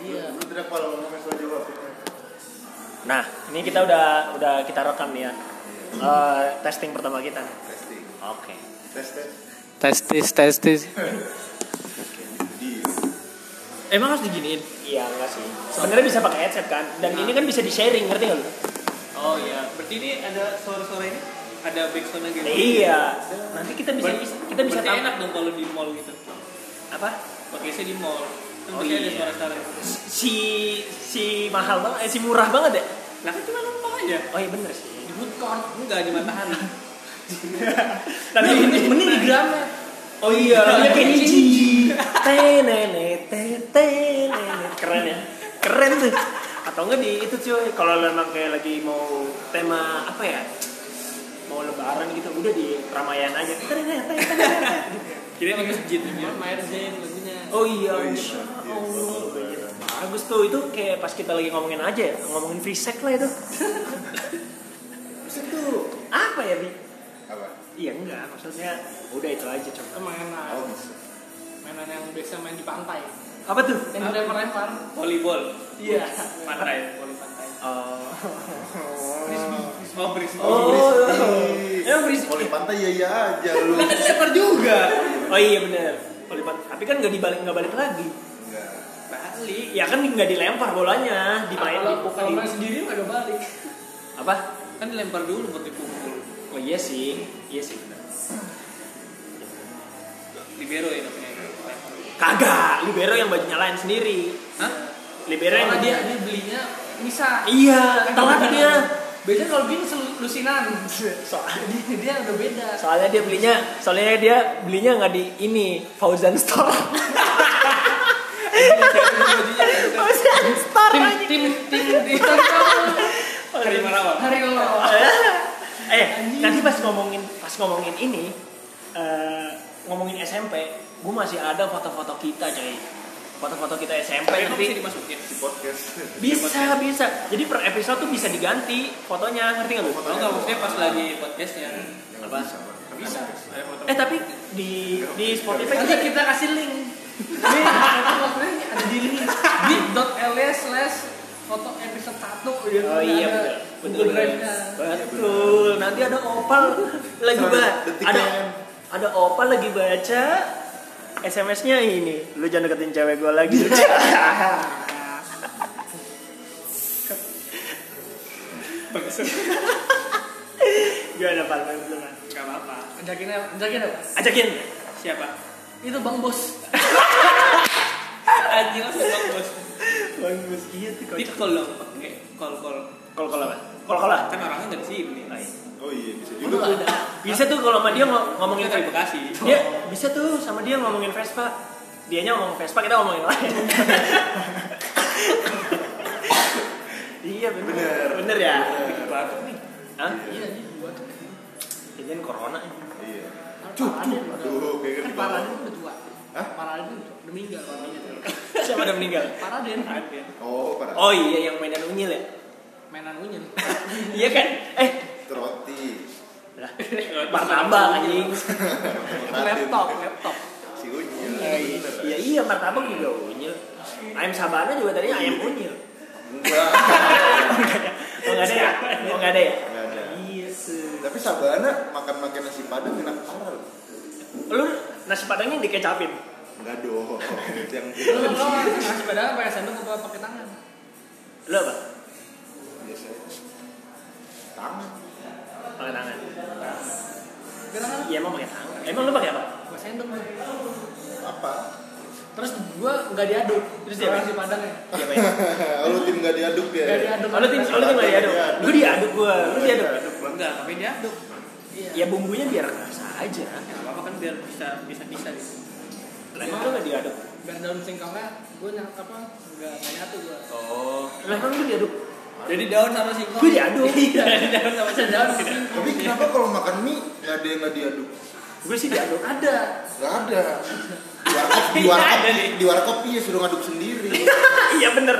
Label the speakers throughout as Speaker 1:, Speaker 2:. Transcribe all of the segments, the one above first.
Speaker 1: Iya.
Speaker 2: Nah, ini kita udah udah kita rekam nih ya. Eh, testing pertama kita. nih.
Speaker 1: testing
Speaker 2: Oke.
Speaker 1: tes tes
Speaker 3: Testis, testis.
Speaker 2: Emang harus diginiin? Iya, enggak sih. Sebenarnya bisa pakai headset kan. Dan ini kan bisa di-sharing, ngerti nggak lu?
Speaker 4: Oh iya, berarti ini ada suara-suara ini ada gitu? backsound lagi.
Speaker 2: Iya. Nanti kita bisa kita bisa
Speaker 4: berarti
Speaker 2: tahu
Speaker 4: enak dong kalau di mall gitu.
Speaker 2: apa?
Speaker 4: Pakai saya di mall.
Speaker 2: Oh
Speaker 4: Kan pasti ada
Speaker 2: iya.
Speaker 4: suara-suara.
Speaker 2: Si si mahal banget, eh, si murah banget ya?
Speaker 4: Lah kan cuma numpang aja.
Speaker 2: Oh iya bener sih.
Speaker 4: Di food court enggak di matahari.
Speaker 2: Tapi ini mending di Gramet. Oh iya, lagunya Kenji. Tenene tenene. Keren ya. Keren tuh. Atau enggak di itu cuy, kalau lu emang kayak lagi mau tema apa ya? Mau lebaran gitu, udah di Ramayana aja. Tenene, tenene.
Speaker 4: Jadi di masjid ya. Mayer Zain lagunya.
Speaker 2: Oh iya,
Speaker 1: Oh iya.
Speaker 2: Masya Allah. Bagus tuh, itu kayak pas kita lagi ngomongin aja ya, ngomongin free sex lah itu. Maksud tuh, apa ya, Bi?
Speaker 1: apa
Speaker 2: Iya enggak, maksudnya udah itu aja coba.
Speaker 5: mainan
Speaker 1: oh bisa
Speaker 5: mainan yang biasa main di pantai
Speaker 2: Apa tuh?
Speaker 5: yang dilempar-lempar
Speaker 4: Volleyball.
Speaker 2: Iya.
Speaker 4: Pantai, volley pantai.
Speaker 2: Oh.
Speaker 4: Oh, Brisbane.
Speaker 2: Oh. Emang free
Speaker 1: Kalau di pantai ya ya aja lu
Speaker 4: Leper juga.
Speaker 2: Oh iya benar. Tapi kan nggak dibalik nggak balik lagi.
Speaker 1: enggak
Speaker 4: Bali.
Speaker 2: Ya kan nggak dilempar bolanya, dimain
Speaker 5: kalau kalau
Speaker 2: di-
Speaker 5: main sendiri mah gak balik
Speaker 2: apa?
Speaker 4: Kan dilempar dulu buat dipukul.
Speaker 2: Oh iya sih, iya sih. bener.
Speaker 4: Libero ya namanya. Lempar.
Speaker 2: Kagak, libero yang bajunya lain sendiri.
Speaker 4: Hah?
Speaker 2: Libero yang
Speaker 5: karena dia dia belinya bisa
Speaker 2: Iya, telat dia.
Speaker 5: biasanya kalau gini sel- lusinan
Speaker 2: Soalnya,
Speaker 5: dia, dia udah beda
Speaker 2: soalnya dia belinya, soalnya dia belinya nggak di ini Fauzan Store. Fauzan Store.
Speaker 5: tim
Speaker 2: anjing.
Speaker 5: tim tim tim kamu
Speaker 4: Hari Marawan.
Speaker 5: hari lo
Speaker 2: Eh, nanti pas ngomongin pas ngomongin ini eh, ngomongin SMP, gue masih ada foto-foto kita, coy. Foto-foto kita SMP
Speaker 4: Tapi kok
Speaker 2: nanti
Speaker 4: bisa dimasukin?
Speaker 1: di podcast
Speaker 2: bisa bisa. Jadi per episode tuh bisa diganti fotonya, ngerti nggak lu?
Speaker 4: Tahu nggak maksudnya pas lagi podcastnya?
Speaker 1: Yang
Speaker 2: Apa?
Speaker 1: bisa, Bang.
Speaker 4: Bisa. Ada foto.
Speaker 2: Eh tapi di di Spotify
Speaker 5: nanti
Speaker 2: kita
Speaker 5: kita kasih link Nih, foto-fotonya ini ada di link bit.ly slash foto episode 1 ya
Speaker 2: Oh iya
Speaker 5: ada
Speaker 2: betul. Betul.
Speaker 5: Google Drive-nya.
Speaker 2: Betul. Nanti ada Opal lagi
Speaker 1: Sama
Speaker 2: baca.
Speaker 1: detik
Speaker 2: Ada
Speaker 1: AM.
Speaker 2: ada Opal lagi baca SMS-nya ini. Lu jangan deketin cewek gua lagi. Gimana Pal? Main betul, Pal?
Speaker 4: Gak apa-apa.
Speaker 5: ajakin apa ajakin apa
Speaker 2: Ajakin.
Speaker 4: Siapa?
Speaker 5: itu bang bos
Speaker 4: Anjing langsung bang bos.
Speaker 2: Bagus. Iya tuh kocak.
Speaker 4: Tipkol dong pakai kol kol.
Speaker 2: Kol kol apa? Kol kol lah.
Speaker 4: Kan orangnya nggak di sini.
Speaker 1: oh iya bisa juga
Speaker 5: Lu
Speaker 1: tuh
Speaker 5: ada
Speaker 2: Bisa tuh kalau sama dia ngo- ngomongin
Speaker 4: Ngomongin dari Bekasi.
Speaker 5: Iya.
Speaker 2: dia bisa tuh sama dia ngomongin Vespa dianya ngomong Vespa kita ngomongin lain iya bener
Speaker 1: Bener.
Speaker 2: bener ya
Speaker 1: Bener.
Speaker 4: Batuk nih.
Speaker 2: Hah?
Speaker 5: iya ini buat
Speaker 2: Jangan corona
Speaker 1: iya
Speaker 5: cucu
Speaker 1: aduh kayak
Speaker 5: kan
Speaker 1: gitu
Speaker 5: Paraden udah tua
Speaker 1: Hah?
Speaker 5: Paraden udah meninggal orangnya
Speaker 2: siapa udah meninggal
Speaker 5: Paraden
Speaker 1: oh parah
Speaker 2: oh iya yang mainan unyil ya
Speaker 5: mainan unyil
Speaker 2: iya kan eh
Speaker 1: roti
Speaker 2: lah martabak anjing
Speaker 5: laptop laptop
Speaker 1: si unyil
Speaker 2: iya iya,
Speaker 1: bener
Speaker 2: iya martabak juga unyil ayam sabana juga tadinya ayam unyil
Speaker 1: enggak
Speaker 2: oh nggak ada ya oh nggak ada ya
Speaker 1: Nggak ada.
Speaker 2: iya sih
Speaker 1: tapi sabana makan makan nasi padang enak parah loh.
Speaker 2: lu nasi padangnya dikecapin
Speaker 1: enggak dong Itu yang
Speaker 5: lo lo Kan ngasih padahal pakai sendok atau pakai tangan
Speaker 2: lu apa
Speaker 1: biasa tangan
Speaker 2: pakai tangan
Speaker 5: pakai tangan
Speaker 2: Iya emang pakai tangan. Emang lu pakai apa?
Speaker 5: pakai sendok lo.
Speaker 1: apa
Speaker 5: terus gua nggak diaduk
Speaker 2: Terus
Speaker 5: terus
Speaker 2: dia
Speaker 5: dia
Speaker 2: apa?
Speaker 5: nasi padangnya
Speaker 2: Iya pakai.
Speaker 1: lu tim gak diaduk ya
Speaker 5: nggak diaduk
Speaker 2: Kalau tim kalau tim nggak diaduk. Gue diaduk gue. Lu diaduk.
Speaker 4: Enggak, tapi dia aduk.
Speaker 5: iya
Speaker 2: Ya bumbunya biar kerasa aja.
Speaker 4: Gak apa-apa kan biar bisa bisa bisa gitu.
Speaker 2: Lah emang lu nggak diaduk?
Speaker 5: biar daun singkongnya gua nyangka apa nggak nggak nyatu gua
Speaker 4: Oh.
Speaker 2: Lah emang lu diaduk?
Speaker 4: Jadi daun sama singkong. Iya,
Speaker 2: Gue diaduk.
Speaker 4: Jadi daun sama
Speaker 5: bisa daun
Speaker 4: singkong.
Speaker 1: tapi kenapa kalau makan mie nggak ada yang nggak diaduk
Speaker 2: Gue sih diaduk.
Speaker 5: ada
Speaker 1: nggak ada di warkop di warkop
Speaker 4: Ada nih.
Speaker 1: di warkop iya suruh ngaduk sendiri
Speaker 2: Iya bener.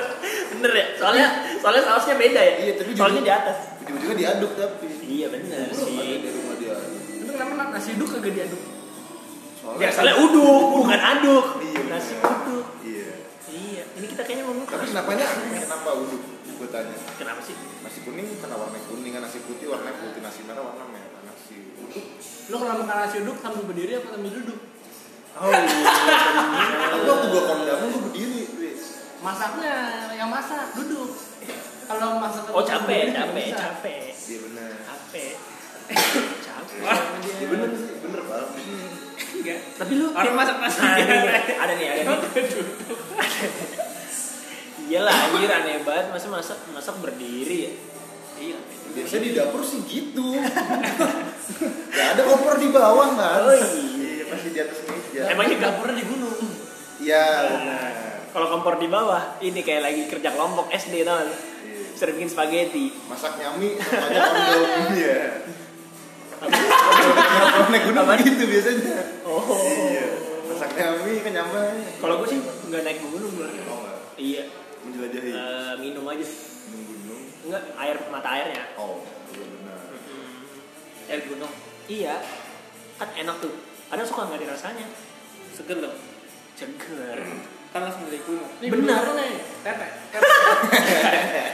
Speaker 2: Bener ya. Soalnya soalnya sausnya beda ya.
Speaker 1: Iya, tapi
Speaker 2: soalnya
Speaker 1: juga-
Speaker 2: di atas.
Speaker 1: ujung-ujungnya diaduk tapi
Speaker 2: Iya bener
Speaker 1: belum ada
Speaker 2: sih.
Speaker 1: di rumah diaduk
Speaker 5: itu kenapa nasi uduk kagak diaduk
Speaker 1: soalnya
Speaker 2: Ya soalnya uduk bukan aduk.
Speaker 1: Iya,
Speaker 2: Nasi
Speaker 1: bener.
Speaker 2: uduk.
Speaker 1: iya
Speaker 2: Iya, ini kita kayaknya ngomong
Speaker 1: Tapi kenapa nya? Kenapa udah? Gue tanya.
Speaker 2: Kenapa sih?
Speaker 1: Nasi kuning karena warna kuning, nasi putih warna putih, nasi merah warna merah, nasi uduk.
Speaker 5: Lo kalau makan nasi uduk sambil berdiri apa sambil duduk?
Speaker 1: Oh iya. Tapi waktu gue kondangan gue berdiri. wis.
Speaker 5: Masaknya yang masak duduk. Kalau masak
Speaker 2: Oh capek, capek, capek,
Speaker 1: Iya benar.
Speaker 2: capek.
Speaker 1: Wah, Iya benar sih, bener bang.
Speaker 5: Iya.
Speaker 4: Enggak.
Speaker 2: Tapi lu
Speaker 4: Orang masak nasi
Speaker 2: Nah, ini nih,
Speaker 4: jarak.
Speaker 2: ada nih, ada nih. Iyalah anjir aneh banget masa masak masak berdiri ya.
Speaker 4: Iya.
Speaker 1: Biasanya di dapur sih gitu. Gak ada kompor di bawah kan?
Speaker 2: Oh, iya.
Speaker 1: Masih di atas meja.
Speaker 2: Emangnya dapurnya di gunung.
Speaker 1: Iya.
Speaker 2: Nah, Kalau kompor di bawah, ini kayak lagi kerja kelompok SD tau gak lu?
Speaker 1: Iya.
Speaker 2: Sering bikin spaghetti.
Speaker 1: Masak nyami sama aja kondom. Iya.
Speaker 2: Apa?
Speaker 1: Kalau naik gunung gitu biasanya.
Speaker 2: Oh.
Speaker 1: Iya. Masak nyami kan nyaman.
Speaker 2: Kalau gue sih nggak naik gunung gue.
Speaker 1: Oh enggak.
Speaker 2: Iya,
Speaker 1: Menjelajahi
Speaker 2: eh, minum aja.
Speaker 1: gunung gunung.
Speaker 2: Enggak, air mata airnya.
Speaker 1: Oh, iya benar.
Speaker 4: Air gunung.
Speaker 2: Iya, kan enak tuh. Kadang suka nggak dirasanya.
Speaker 4: Seger dong.
Speaker 2: Seger.
Speaker 4: Kan langsung dari gunung.
Speaker 2: Benar.
Speaker 5: nih. Tete.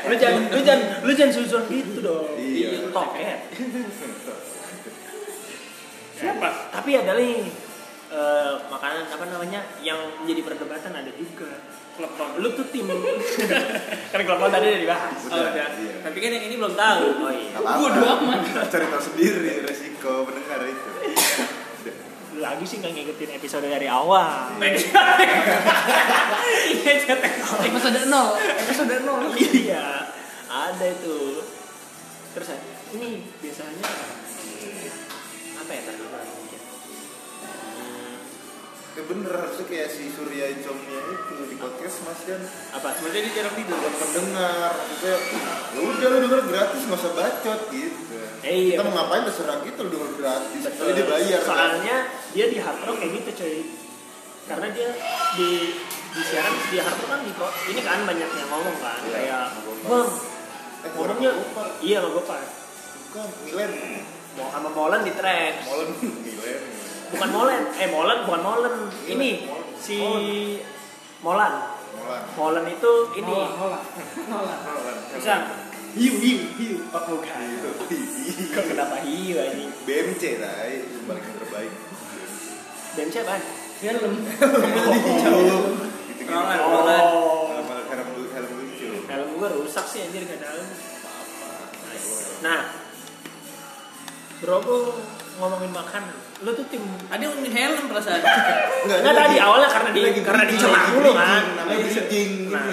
Speaker 2: Lu jangan, lu jangan, lu jangan suzon gitu dong. eh.
Speaker 1: Iya.
Speaker 2: Toket.
Speaker 4: Siapa?
Speaker 2: Tapi ada nih eh, makanan apa namanya yang menjadi perdebatan ada juga.
Speaker 4: Klepon.
Speaker 2: Lu tuh tim kan kelompok tadi udah dibahas.
Speaker 1: Udah,
Speaker 4: Oh, udah.
Speaker 1: iya.
Speaker 4: Tapi kan yang ini belum tahu.
Speaker 2: Oh iya.
Speaker 1: Gak apa-apa.
Speaker 5: Bodo amat.
Speaker 1: Cari tahu sendiri resiko mendengar itu.
Speaker 2: Lu lagi sih nggak ngikutin episode dari awal.
Speaker 4: Iya, cetek.
Speaker 5: Episode 0. Episode 0.
Speaker 2: iya ada itu terus ada- ini biasanya apa ya tadi Hmm,
Speaker 1: Ya bener harusnya kayak si Surya Insomnia itu di podcast Mas kan? dan
Speaker 2: apa
Speaker 4: Berarti dia jarang tidur.
Speaker 1: buat pendengar maksudnya ya udah lu denger gratis nggak usah bacot gitu.
Speaker 2: Eh, iya.
Speaker 1: Kita mau ngapain terserah gitu lu denger gratis.
Speaker 2: Betul.
Speaker 1: Kalau dia bayar. kan?
Speaker 2: soalnya dia di hard rock kayak gitu cuy karena dia di di siaran di hard rock kan di pro- ini kan banyak yang ngomong kan
Speaker 1: Iya,
Speaker 2: kayak
Speaker 1: ngegopar.
Speaker 2: bang
Speaker 1: Eh,
Speaker 2: ngomongnya
Speaker 1: Gopar.
Speaker 2: iya nggak gopar
Speaker 1: Bukan, Milen.
Speaker 2: mau sama molen di track
Speaker 1: Molen, Milen.
Speaker 2: bukan molen eh molen bukan molen ini
Speaker 1: Iya, Molen.
Speaker 2: si molan
Speaker 1: Molan.
Speaker 2: molen itu ini
Speaker 5: Nolak, nolak. Nolak.
Speaker 1: Molan.
Speaker 2: Bisa.
Speaker 1: Hiu, hiu, hiu.
Speaker 2: Oh, bukan.
Speaker 1: Hiu, hiu.
Speaker 2: Kok kenapa hiu anjing?
Speaker 1: BMC lah, itu paling terbaik.
Speaker 2: BMC apaan?
Speaker 5: Film.
Speaker 1: Gitu-gitu.
Speaker 4: Rolan,
Speaker 1: Oh.
Speaker 4: rolan.
Speaker 1: Helm helm lu- helm lucu.
Speaker 2: Helm gua rusak sih anjir gak dalam. Nah, bro gua ngomongin makan. Lu tuh tim
Speaker 4: Tadi ngomongin helm perasaan.
Speaker 1: Enggak,
Speaker 2: Enggak
Speaker 1: dia
Speaker 2: tadi
Speaker 1: lagi-
Speaker 2: awalnya karena di
Speaker 1: dia lagi
Speaker 2: karena
Speaker 1: bridging,
Speaker 2: dicela
Speaker 1: lagi
Speaker 2: dulu
Speaker 1: bridging,
Speaker 2: kan.
Speaker 1: Namanya Iya, bridging.
Speaker 2: Nah,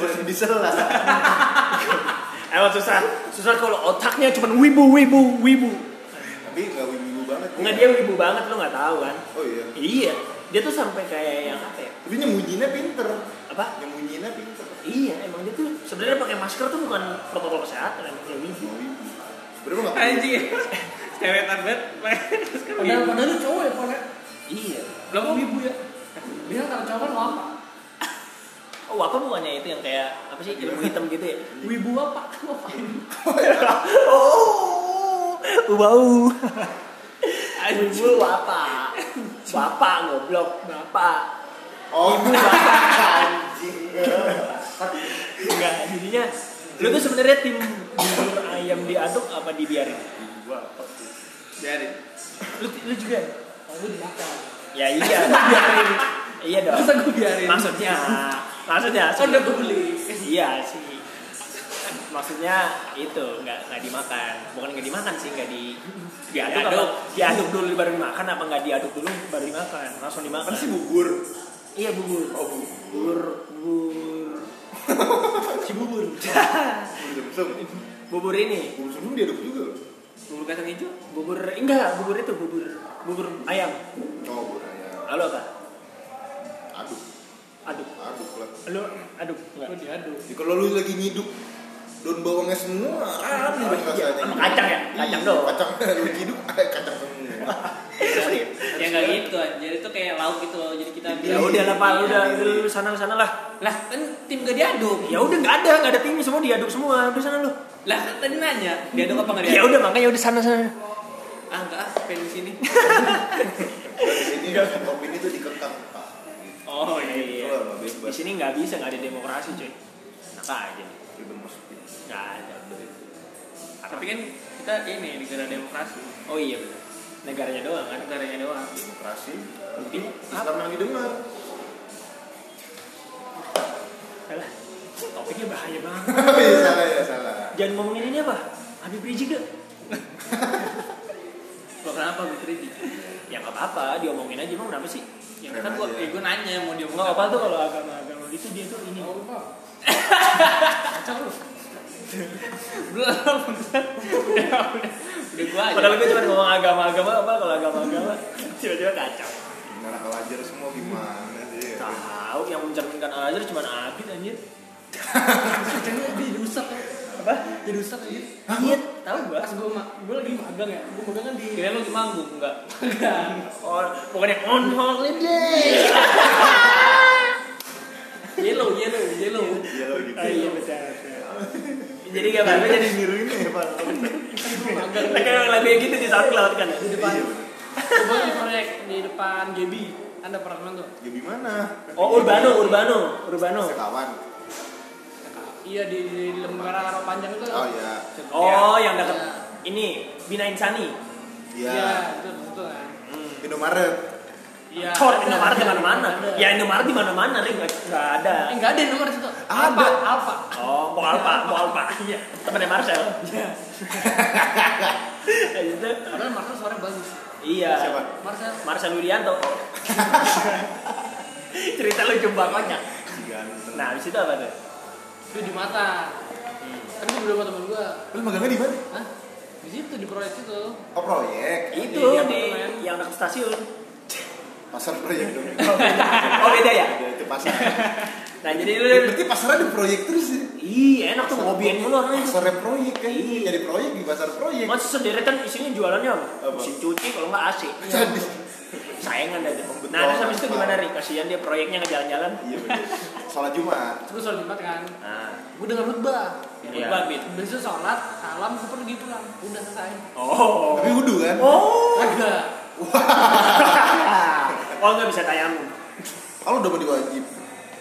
Speaker 1: Harus disela.
Speaker 2: Emang susah. Susah kalau otaknya cuma wibu wibu wibu.
Speaker 1: Tapi enggak wibu banget. ya.
Speaker 2: Enggak dia wibu banget lu nggak tahu kan?
Speaker 1: Oh iya.
Speaker 2: Iya. Dia tuh sampai kayak yang apa ya?
Speaker 1: Tapi nyembunyiinnya pinter.
Speaker 2: Apa?
Speaker 1: Nyembunyiinnya pinter.
Speaker 2: Iya, emang dia tuh sebenarnya pakai masker tuh bukan protokol kesehatan, emang dia wibu.
Speaker 1: Mau wibu. Sebenarnya enggak perlu.
Speaker 4: Anjing. Cewek target.
Speaker 5: Padahal padahal lu cowok ya, Pol. ya?
Speaker 2: Iya.
Speaker 4: Lo mau ibu ya?
Speaker 5: Bilang kalau cowok lo apa?
Speaker 2: Oh, apa bukannya itu yang kayak apa sih ilmu hitam gitu ya?
Speaker 5: Wibu apa? Lu Ngapain?
Speaker 2: oh, wow. Ibu bapak, bapak goblok, bapak.
Speaker 1: Oh,
Speaker 2: Ibu bapak.
Speaker 1: anjing.
Speaker 2: Enggak, jadinya lu tuh sebenarnya tim bubur ayam diaduk apa dibiarin?
Speaker 4: Biarin.
Speaker 2: Lu, lu juga?
Speaker 5: Oh, lu dibakar.
Speaker 2: Ya iya, biarin. iya dong.
Speaker 5: Masa gue biarin?
Speaker 2: Maksudnya, maksudnya.
Speaker 5: Oh, udah gue beli.
Speaker 2: Iya sih. Maksudnya itu nggak nggak dimakan, bukan nggak dimakan sih nggak di diaduk,
Speaker 4: Diaduk.
Speaker 2: apa- diaduk dulu baru dimakan apa nggak diaduk dulu baru dimakan langsung dimakan
Speaker 1: Kan sih bubur.
Speaker 2: iya bubur
Speaker 1: Oh, bubur.
Speaker 2: bubur bubur si bubur
Speaker 1: Bubur sumsum.
Speaker 2: bubur ini
Speaker 1: Bubur sumsum diaduk juga loh.
Speaker 4: Bubur kacang hijau.
Speaker 2: bubur enggak bubur itu bubur bubur ayam
Speaker 1: Oh, bubur ayam.
Speaker 2: lalu apa
Speaker 1: Aduk,
Speaker 2: aduk
Speaker 1: aduk lah.
Speaker 2: lu aduk
Speaker 5: Gue
Speaker 2: enggak
Speaker 5: diaduk.
Speaker 1: Jadi kalau lu lagi ngiduk daun bawangnya semua, ah,
Speaker 2: Oh, iya. Sama kacang ya? Kacang
Speaker 1: Iya,
Speaker 2: doang.
Speaker 1: Kacang lu ngiduk eh, kacang semua.
Speaker 4: Ya nggak gitu anjir. Itu kayak lauk gitu loh. Jadi kita
Speaker 2: ya
Speaker 4: biar-
Speaker 2: udah lah pak lu udah lu sana sana lah
Speaker 4: Lah kan tim gak diaduk.
Speaker 2: ya udah nggak ada nggak ada timnya semua diaduk semua udah sana lu
Speaker 4: Lah kan tadi nanya diaduk apa nggak diaduk?
Speaker 2: ya udah makanya udah sana sana
Speaker 4: Ah nggak ah pengen di sini.
Speaker 1: Ini kopi ini tuh dikekang, Pak.
Speaker 2: Oh
Speaker 4: Oh
Speaker 1: Keluar
Speaker 2: iya.
Speaker 1: sama
Speaker 2: Di
Speaker 1: bebas.
Speaker 2: sini nggak bisa nggak ada demokrasi cuy. Apa aja?
Speaker 1: Freedom of speech.
Speaker 2: Nggak ada.
Speaker 4: Tapi kan kita ini negara demokrasi,
Speaker 2: Oh iya benar. Negaranya doang kan.
Speaker 4: negaranya doang.
Speaker 1: Demokrasi. Mungkin Islam yang didengar.
Speaker 2: Alah, topiknya bahaya banget.
Speaker 1: Iya salah ya salah.
Speaker 2: Jangan ngomongin ini apa? Habib Rizik gak?
Speaker 4: Lo kenapa gue kritik?
Speaker 2: Ya nggak apa-apa, diomongin aja emang kenapa sih?
Speaker 4: Ya kan gue, ya, gue nanya mau dia
Speaker 2: Nggak apa tuh kalau agama-agama gitu dia tuh ini.
Speaker 5: Oh, lupa. Kacau lu.
Speaker 4: Belum. Udah, udah. Udah gue aja.
Speaker 2: Padahal kan- gue cuma ngomong agama-agama apa kalau agama-agama tiba-tiba kacau.
Speaker 1: Dengar wajar semua gimana sih?
Speaker 2: Tahu yang mencerminkan al azhar cuma Abid anjir.
Speaker 5: Kacanya di rusak.
Speaker 2: Apa?
Speaker 5: Di rusak aja.
Speaker 2: Iya, tahu gua.
Speaker 5: Pas gue ma- gue lagi magang ya. Gue magang kan di
Speaker 2: Iya.
Speaker 4: Kira lu manggung enggak?
Speaker 5: magang.
Speaker 2: Oh, bukannya on holiday.
Speaker 4: Yellow, yellow, yellow.
Speaker 1: Iya lo gitu.
Speaker 2: Oh iya betul. Jadi gak apa-apa jadi
Speaker 1: niru ini
Speaker 2: Iya,
Speaker 1: ya Pak.
Speaker 2: Nah, kayak lagu yang gitu di SoundCloud kan.
Speaker 1: Iya,
Speaker 5: Di depan. Coba di proyek di depan GB. Anda pernah kenal tuh?
Speaker 1: Ya gimana?
Speaker 2: Oh Urbano, Urbano, Urbano.
Speaker 1: Kawan.
Speaker 5: Iya di, di lembaran arah panjang itu.
Speaker 1: Oh iya.
Speaker 2: Oh yang dekat ini Bina Insani.
Speaker 1: Iya.
Speaker 5: Iya, itu betul kan.
Speaker 1: Indomaret.
Speaker 5: Iya.
Speaker 2: Cor
Speaker 5: ada,
Speaker 2: Indomaret di
Speaker 5: ada,
Speaker 2: mana-mana.
Speaker 5: ada.
Speaker 2: Ya Indomaret di mana-mana ring enggak
Speaker 5: Eh,
Speaker 2: ada.
Speaker 5: Enggak ada nomor itu.
Speaker 1: Ada.
Speaker 5: Alfa.
Speaker 2: Oh, mau Alpa, mau Alpa. Iya, temannya Marcel. Kayak gitu.
Speaker 5: Padahal Marcel suaranya bagus.
Speaker 2: Iya.
Speaker 1: Siapa?
Speaker 5: Marcel
Speaker 2: Marcel Widianto. Cerita lucu banget.
Speaker 1: Si Ganteng.
Speaker 2: Nah, habis itu apa tuh?
Speaker 5: itu di mata. Kan gue bilang sama temen gue,
Speaker 1: Lu magangnya di mana?
Speaker 5: hah? Di situ di proyek itu.
Speaker 1: Oh proyek.
Speaker 2: Itu
Speaker 5: Di- di
Speaker 2: di
Speaker 5: apartemen.
Speaker 2: yang dekat stasiun.
Speaker 1: Pasar proyek dong.
Speaker 2: Oh beda ya.
Speaker 1: Ada itu pasar.
Speaker 2: Nah jadi lu
Speaker 1: Berarti pasarnya di proyek terus ya.
Speaker 2: Ih enak tuh ngobiin mulu orangnya tuh.
Speaker 1: Pasarnya proyek kan. Jadi proyek di pasar proyek.
Speaker 2: Iya. Mas sendiri kan isinya jualannya apa?
Speaker 1: Apa?
Speaker 2: Mesin cuci kalau nggak AC.
Speaker 1: Jadi.
Speaker 2: Sayangan aja.
Speaker 1: Betul.
Speaker 2: Nah terus habis itu gimana Ri? Kasihan dia proyeknya ngejalan-jalan.
Speaker 1: Iya bener. Salat Jumat.
Speaker 5: Terus gue sholat Jumat kan.
Speaker 2: Nah,
Speaker 5: Gue denger khutbah.
Speaker 2: Iya.
Speaker 4: Gua ambil.
Speaker 5: Besok sholat, salam, gue pergi pulang. Udah selesai.
Speaker 2: Oh.
Speaker 1: Tapi wudhu kan.
Speaker 2: Oh.
Speaker 5: Kagak.
Speaker 2: Oh nggak bisa tayamum.
Speaker 1: Kalau udah mau diwajib.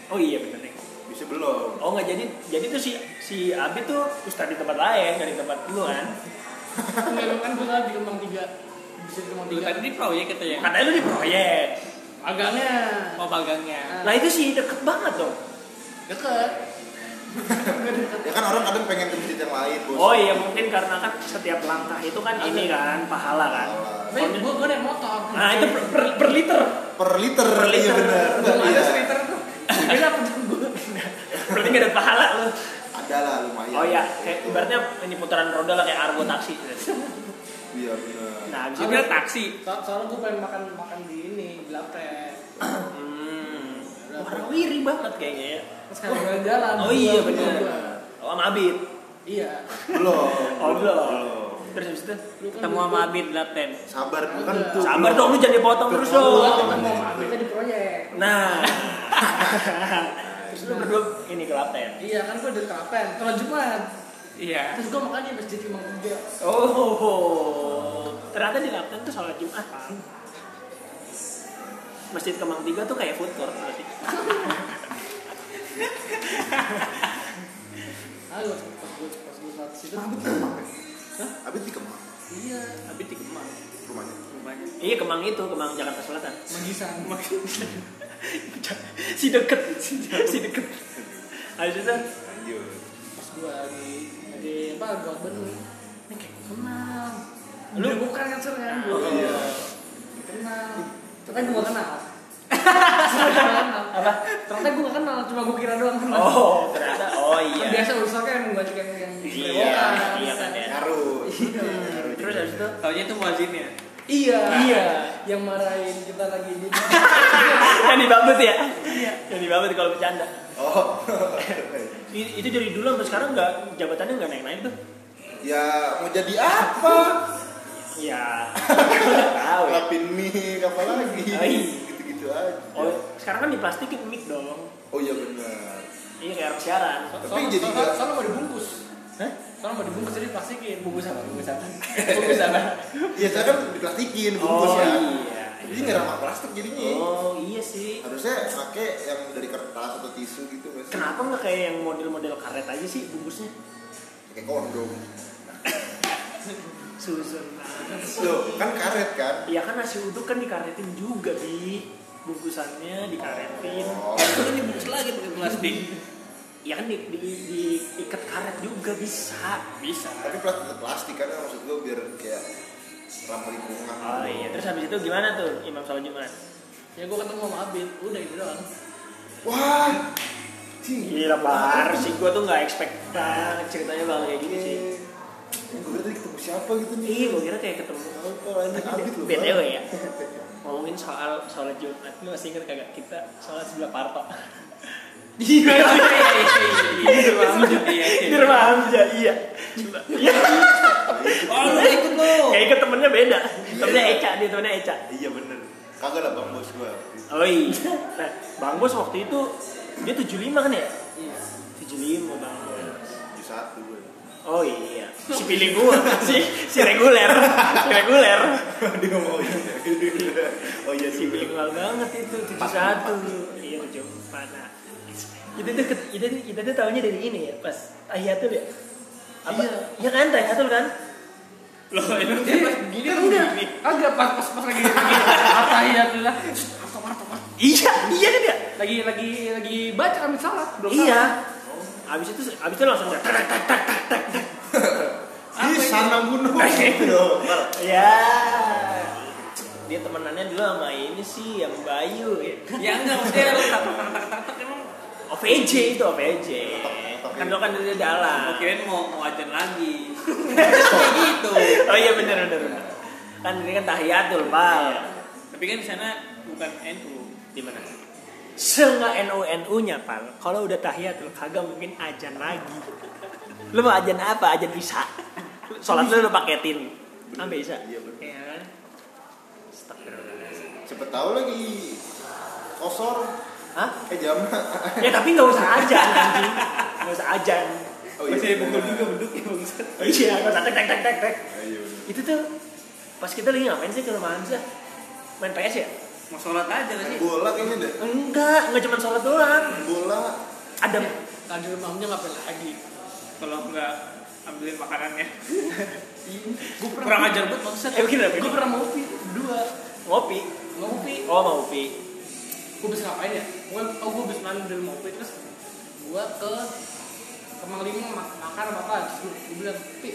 Speaker 2: Oh iya bener nih.
Speaker 1: Bisa belum.
Speaker 2: Oh nggak jadi jadi tuh si si Abi tuh ustad di tempat lain dari tempat lu kan.
Speaker 5: Enggak dong, kan gue sholat di kembang tiga. Bisa di kembang
Speaker 4: Lu
Speaker 5: tiga.
Speaker 4: tadi di proyek katanya.
Speaker 2: Katanya lu di proyek.
Speaker 5: Agaknya
Speaker 4: Mau bagangnya.
Speaker 2: Nah itu sih deket banget dong.
Speaker 5: deket.
Speaker 1: Ya kan orang kadang pengen ke masjid yang lain bos.
Speaker 2: Oh iya mungkin karena kan setiap langkah itu kan ini kan pahala kan.
Speaker 5: Tapi gue gue naik motor.
Speaker 2: Nah itu per, per- per liter.
Speaker 1: Per liter.
Speaker 2: Per liter.
Speaker 1: Iya bener. Enggak,
Speaker 5: Belum
Speaker 1: iya.
Speaker 5: ada sweater tuh. Beda apa gue?
Speaker 2: Berarti gak ada pahala lu.
Speaker 1: Ada lah lumayan.
Speaker 2: Oh iya, kayak
Speaker 1: Gitu.
Speaker 2: ibaratnya ini putaran roda lah kayak argo taksi.
Speaker 1: Iya bener.
Speaker 2: Nah, habis
Speaker 4: Dia
Speaker 2: itu
Speaker 4: bilang taksi.
Speaker 5: So- soalnya gue pengen makan makan di ini di Laptek.
Speaker 2: hmm, warawiri banget kayaknya ya.
Speaker 5: Terus kan jalan-jalan.
Speaker 2: Oh iya,
Speaker 5: Gua-
Speaker 2: bener.
Speaker 5: gua-
Speaker 2: Oh, sama Abid.
Speaker 5: Iya.
Speaker 1: Belum.
Speaker 2: Oh, belum. Terus habis itu
Speaker 5: Lu kan
Speaker 4: Ketemu
Speaker 5: dulu-
Speaker 4: sama Abid Laten.
Speaker 1: Sabar bukan
Speaker 5: Udah.
Speaker 1: tuh.
Speaker 2: Sabar dong lu jangan dipotong terus
Speaker 5: Gua
Speaker 2: dong.
Speaker 5: ketemu sama Abidnya di proyek.
Speaker 2: Nah. terus lu berdua ini ke Laten.
Speaker 5: Iya kan gue dari Klaten, terus Jumat.
Speaker 4: Iya.
Speaker 5: Terus gue makan di masjid Imam Tiga.
Speaker 2: Oh. Ternyata di Laten tuh sholat Jumat. Pak. Masjid Kemang Tiga tuh kayak food court berarti.
Speaker 5: Aduh, pas gue pas gue saat situ.
Speaker 1: Abis di Kemang
Speaker 5: Iya,
Speaker 4: Abid di Kemang
Speaker 1: rumahnya.
Speaker 4: rumahnya.
Speaker 2: Iya Kemang itu, Kemang Jakarta Selatan.
Speaker 5: magisan.
Speaker 2: si deket, si, si deket. Habis itu
Speaker 1: Lanjut.
Speaker 5: Pas gue lagi lagi apa gue bener. Ini kayak kenal.
Speaker 2: Lu-
Speaker 5: Lu bukan kan sering kan? Gua
Speaker 2: Oh,
Speaker 1: iya.
Speaker 5: kenal. Ternyata gue gak kenal. Ternyata gua gak kenal.
Speaker 2: apa?
Speaker 5: Ternyata gue gak kenal, cuma gue kira doang kenal.
Speaker 2: Oh ternyata oh
Speaker 5: Kan
Speaker 2: iya.
Speaker 5: Biasa rusaknya yang gue yang yang
Speaker 2: Iya, iya kan ya.
Speaker 1: Ngaruh. Ngaruh
Speaker 2: Terus
Speaker 1: juga.
Speaker 2: habis itu
Speaker 4: Taunya itu muazinnya.
Speaker 5: Iya.
Speaker 2: Iya.
Speaker 5: Yang marahin kita lagi di
Speaker 2: yang dibabut ya? Iya. Yang dibabut kalau bercanda.
Speaker 1: Oh.
Speaker 2: I- Itu dari dulu sampai sekarang nggak jabatannya nggak naik-naik tuh?
Speaker 1: ya mau jadi apa?
Speaker 2: Iya. Nggak Tahu ya.
Speaker 1: Lapin mie apa lagi?
Speaker 2: Ai.
Speaker 1: Gitu-gitu aja.
Speaker 2: Oh sekarang kan diplastikin mic dong.
Speaker 1: Oh iya benar.
Speaker 2: Iya kayak orang siaran.
Speaker 1: Tapi jadi nggak-
Speaker 5: soalnya mau dibungkus.
Speaker 2: Hah?
Speaker 5: Soalnya mau dibungkus jadi plastikin.
Speaker 2: Bungkus apa? Bungkus apa? Bungkus apa?
Speaker 1: Iya saya kan diplastikin bungkus
Speaker 2: Oh
Speaker 1: ya.
Speaker 2: iya.
Speaker 1: Jadi nggak ramah plastik jadinya.
Speaker 2: Oh iya sih.
Speaker 1: Harusnya pakai yang dari kertas atau tisu gitu nggak sih?
Speaker 2: Kenapa nggak kayak yang model-model karet aja sih bungkusnya?
Speaker 1: Pakai kondom.
Speaker 2: Susun. banget.
Speaker 1: Loh, kan karet kan?
Speaker 2: Ya kan nasi uduk kan dikaretin juga bi bungkusannya dikaretin.
Speaker 1: Oh.
Speaker 4: Itu kan dibungkus lagi pakai plastik.
Speaker 2: Ya kan di, di, di- diikat karet juga bisa.
Speaker 4: Bisa.
Speaker 1: Tapi plastik tetap plastik kan maksud gue biar kayak ramah lingkungan.
Speaker 2: Oh iya, terus habis itu gimana tuh Imam Salat Jumat?
Speaker 5: ya gue ketemu sama Abid udah itu doang
Speaker 1: Wah. Sini.
Speaker 2: Gila par, sih gua tuh nggak expect banget ceritanya bakal kayak gini sih.
Speaker 1: Gue Iya. tadi ketemu siapa gitu nih?
Speaker 2: Iya, gua kira kayak ketemu.
Speaker 1: Apa anjing abis lu?
Speaker 2: BTW ya, ngomongin soal sholat Jumat, lu masih inget kagak kita sholat sebelah parto?
Speaker 4: Iya. Iya. Iya.
Speaker 2: Di rumah Hamzah, iya. Coba. Iya.
Speaker 4: Oh, lu ikut lu.
Speaker 5: Iya.
Speaker 2: Kayak ikut temennya beda. Temennya Eca, dia temennya Eca.
Speaker 1: Iya bener. Kagak lah bang bos gue.
Speaker 2: Oh iya. Nah, Bang Bos waktu itu dia 75 kan ya?
Speaker 5: iya
Speaker 2: 75 Bang Bos.
Speaker 1: Di satu gue.
Speaker 2: Oh iya. Si pilih gua, si si reguler, si reguler.
Speaker 1: Dia ngomong oh iya. Oh iya
Speaker 2: Si
Speaker 1: dulu.
Speaker 2: bilingual banget itu 71. Iya, 74. Nah, itu tuh ket- itu tuh kita tuh tahunya dari ini ya, pas tahiyatul ya. Apa? Iya, kan tahiyatul kan?
Speaker 4: Loh, itu
Speaker 5: jadi pas gini kan udah agak pas pas pas lagi lagi apa ya lah
Speaker 2: Iya, iya kan ya?
Speaker 5: lagi lagi lagi baca kami salat belum
Speaker 2: Iya.
Speaker 5: salat.
Speaker 2: Abis itu abis itu langsung tak tak tak tak tak tak. tak.
Speaker 1: Di sana bunuh. Gitu dong. Ntar.
Speaker 2: Ya. Dia temenannya dulu sama ini sih yang Bayu ya.
Speaker 4: Ya enggak maksudnya lu tak emang
Speaker 2: OVJ itu OVJ.
Speaker 1: Otak- otak
Speaker 2: Kan
Speaker 1: ini.
Speaker 2: lo kan dari dalam.
Speaker 4: Gua kirain mau mau ajan lagi. Kayak gitu.
Speaker 2: Oh iya benar benar. benar. Kan ini kan tahiyatul, Pak.
Speaker 4: Tapi kan di sana bukan NU.
Speaker 2: Di mana? Seenggak NU-NU-nya, Pak. Kalau udah tahiyatul kagak mungkin ajan lagi. Lu mau ajan apa? Ajan bisa. Salat lu lu paketin. Sampai bisa.
Speaker 1: Iya bener.
Speaker 2: Iya kan? Astagfirullahaladzim.
Speaker 1: Siapa tahu lagi kosor
Speaker 2: Hah?
Speaker 1: eh jamaah.
Speaker 2: Ya tapi nggak usah ajan anjing. Nggak usah ajan.
Speaker 1: Oh
Speaker 4: Masih dipukul
Speaker 1: bener.
Speaker 4: juga beduk ya Bang Sat.
Speaker 2: Iya, nggak usah tek tek tek tek tek.
Speaker 1: Oh, Iya bener.
Speaker 2: Itu tuh pas kita lagi ngapain sih ke rumah Hamzah? Main PS ya?
Speaker 4: Mau sholat aja gak sih?
Speaker 1: Bola kayaknya deh.
Speaker 2: Enggak, enggak cuma sholat doang.
Speaker 1: Bola.
Speaker 2: Ada
Speaker 5: tadi rumahnya ngapain lagi
Speaker 4: Kalau enggak ambilin makanannya.
Speaker 5: gue
Speaker 4: Kurang ajar banget maksudnya.
Speaker 2: eh begini
Speaker 5: gue
Speaker 2: begini.
Speaker 5: pernah mau pi berdua
Speaker 2: Ngopi.
Speaker 5: mau pi
Speaker 2: Oh, mau ngopi.
Speaker 5: gue bisa ngapain ya gue oh gue bisa mandi dari mobil terus gue ke kemang lima mak- makan apa apa terus gue, gue bilang pi